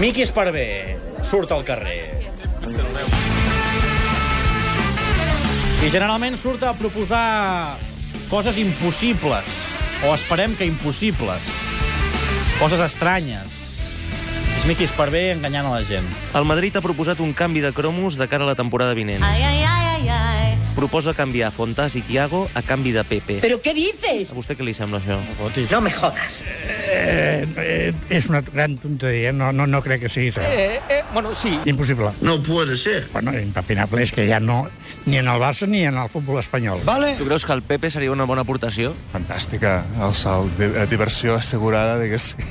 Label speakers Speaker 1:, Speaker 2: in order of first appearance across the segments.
Speaker 1: Miqui Esparvé surt al carrer. I generalment surt a proposar coses impossibles, o esperem que impossibles, coses estranyes. És Miqui Esparvé enganyant a la gent.
Speaker 2: El Madrid ha proposat un canvi de cromos de cara a la temporada vinent.
Speaker 3: Ay, ay, ay, ay, ay.
Speaker 2: Proposa canviar Fontàs i Tiago a canvi de Pepe.
Speaker 3: ¿Pero qué dices?
Speaker 2: A vostè què li sembla això?
Speaker 3: No me jodas.
Speaker 4: Eh, eh, és una gran tonteria, no, no, no crec que sigui això. Eh, eh, bueno, sí. Impossible. No puede ser. Bueno, impepinable és que ja no... Ni en el Barça ni en el futbol espanyol. Va.
Speaker 2: Tu creus que el Pepe seria una bona aportació?
Speaker 5: Fantàstica, el salt, di- eh, diversió assegurada, diguéssim,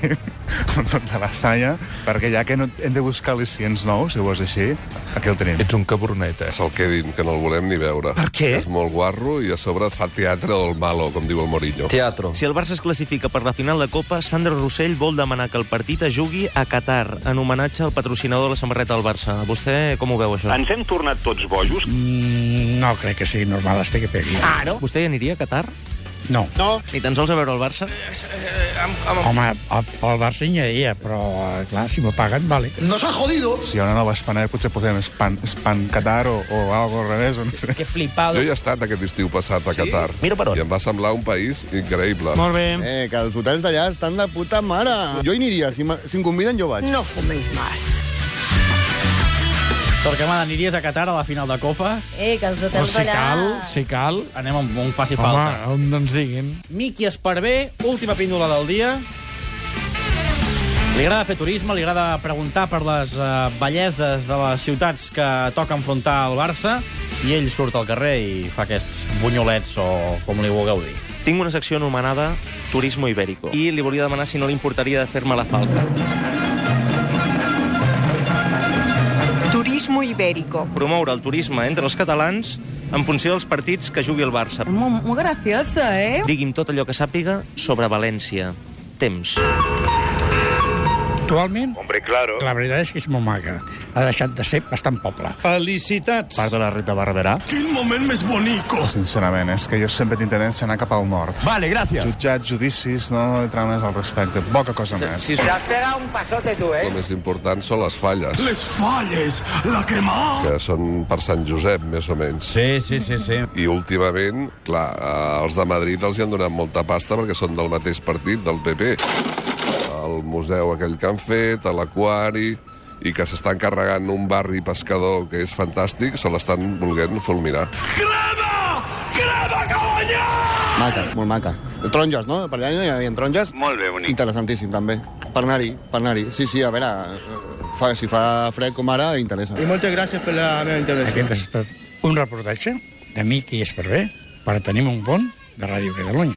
Speaker 5: de la Sanya, perquè ja que no hem de buscar al·licients nous, si ho vols així, aquí el tenim.
Speaker 6: Ets un cabronet, eh?
Speaker 7: És el Kevin, que no el volem ni veure. Per
Speaker 2: què?
Speaker 7: És molt guarro i a sobre fa teatre del malo, com diu el Mourinho.
Speaker 8: Teatro.
Speaker 2: Si el Barça es classifica per la final de Copa, Sandro Rossell vol demanar que el partit es jugui a Qatar, en homenatge al patrocinador de la samarreta del Barça. Vostè com ho veu, això?
Speaker 9: Ens hem tornat tots bojos.
Speaker 4: Mm, no crec que sigui normal, estic a fer
Speaker 3: Claro.
Speaker 2: Vostè hi aniria a Qatar?
Speaker 4: No. Ah. no.
Speaker 2: Ni tan sols a veure el Barça?
Speaker 4: Home, el, el Barça hi aniria, però, eh, clar, si m'ho paguen, vale.
Speaker 5: Si hi ha una nova Espanya, potser podem Span, Span Qatar o, o algo al revés, o no sé.
Speaker 3: Qué flipado.
Speaker 7: Jo hi he estat aquest estiu passat a Qatar. Miro per on. I em va semblar un país increïble.
Speaker 2: Molt bé.
Speaker 10: Eh, que els hotels d'allà estan de puta mare. Jo hi aniria, si, me- si em conviden jo vaig.
Speaker 3: No fuméis más.
Speaker 1: Torquemada, aniries a Qatar a la final de Copa?
Speaker 11: Eh, que els
Speaker 6: O
Speaker 11: hotels
Speaker 6: Doncs si cal,
Speaker 11: d'allà...
Speaker 6: si cal,
Speaker 1: Anem on, on faci
Speaker 6: home,
Speaker 1: falta.
Speaker 6: on ens diguin.
Speaker 1: Miqui Esparvé, última píndola del dia. Li agrada fer turisme, li agrada preguntar per les uh, belleses de les ciutats que toca enfrontar el Barça, i ell surt al carrer i fa aquests bunyolets, o com li vulgueu dir.
Speaker 2: Tinc una secció anomenada Turismo Ibérico i li volia demanar si no li importaria de fer-me la falta.
Speaker 3: Turismo ibérico.
Speaker 2: Promoure el turisme entre els catalans en funció dels partits que jugui el Barça.
Speaker 3: Muy, muy graciosa, ¿eh?
Speaker 2: Digui'm tot allò que sàpiga sobre València. Temps.
Speaker 4: Actualment,
Speaker 9: Hombre, claro.
Speaker 4: la veritat és que és molt maca. Ha deixat de ser bastant poble.
Speaker 1: Felicitats!
Speaker 5: Part de la Rita Barberà. Quin moment més bonico! Sincerament, és que jo sempre tinc tendència a anar cap al nord. Vale, gràcies. Jutjats, judicis, no trames al respecte. Poca cosa més.
Speaker 2: Si
Speaker 8: eh?
Speaker 7: El més important són les falles. Les falles, la cremà! Que són per Sant Josep, més o menys.
Speaker 8: Sí, sí, sí, sí.
Speaker 7: I últimament, clar, eh, els de Madrid els hi han donat molta pasta perquè són del mateix partit, del PP. El museu aquell que han fet, a l'aquari i que s'estan carregant un barri pescador que és fantàstic, se l'estan volent fulminar.
Speaker 10: Maca, molt maca. Tronges, no? Per allà hi havia tronges.
Speaker 9: Molt bé, bonic.
Speaker 10: Interessantíssim, també. Per anar-hi, per anar-hi. Sí, sí, a veure, eh, fa, si fa fred com ara, interessa.
Speaker 8: moltes gràcies per la meva intervenció.
Speaker 4: Aquest ha estat un reportatge de Miqui Esparvé per tenir un bon de Ràdio Catalunya.